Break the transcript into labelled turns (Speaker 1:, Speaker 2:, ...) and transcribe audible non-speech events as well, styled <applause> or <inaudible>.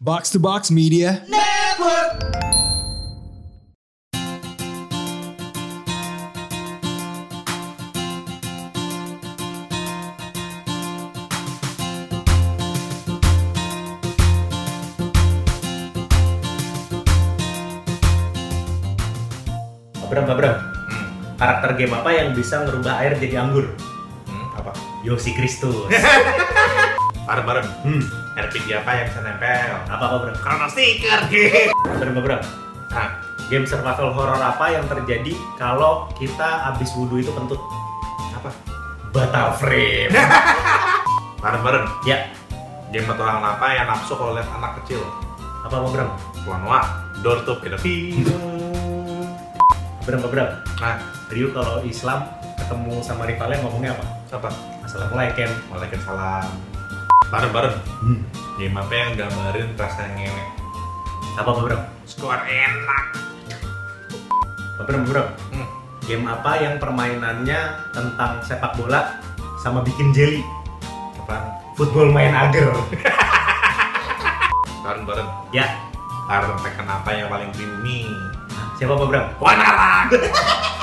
Speaker 1: Box to Box Media.
Speaker 2: Abram, Abram, karakter game apa yang bisa ngerubah air jadi anggur?
Speaker 3: Hmm, apa
Speaker 2: Yosi Kristus.
Speaker 3: bareng-bareng
Speaker 2: hmm,
Speaker 3: RPG apa yang bisa nempel
Speaker 2: apa apa Abram?
Speaker 3: Chrono Sticker gitu
Speaker 2: Abram, Abram,
Speaker 3: nah
Speaker 2: game survival horror apa yang terjadi kalau kita abis wudhu itu kentut?
Speaker 3: apa
Speaker 2: Batal frame.
Speaker 3: <laughs> bareng-bareng
Speaker 2: ya,
Speaker 3: game petualangan apa yang nafsu kalau lihat anak kecil
Speaker 2: apa apa Abram?
Speaker 3: Wanwa Door to Pedophilia
Speaker 2: Abram, Abram,
Speaker 3: nah
Speaker 2: Ryu kalau Islam ketemu sama rivalnya ngomongnya apa?
Speaker 3: apa
Speaker 2: Assalamualaikum.
Speaker 3: Waalaikumsalam bareng-bareng
Speaker 2: Hmm.
Speaker 3: game apa yang gambarin rasa ngewek
Speaker 2: Apa apa Abram?
Speaker 3: skor enak
Speaker 2: Abram, Abram,
Speaker 3: Hmm.
Speaker 2: game apa yang permainannya tentang sepak bola sama bikin jelly?
Speaker 3: apa
Speaker 2: Football main agar.
Speaker 3: bareng-bareng
Speaker 2: ya,
Speaker 3: karakter Tekken apa yang paling creamy
Speaker 2: siapa apa Abram?
Speaker 3: Wanara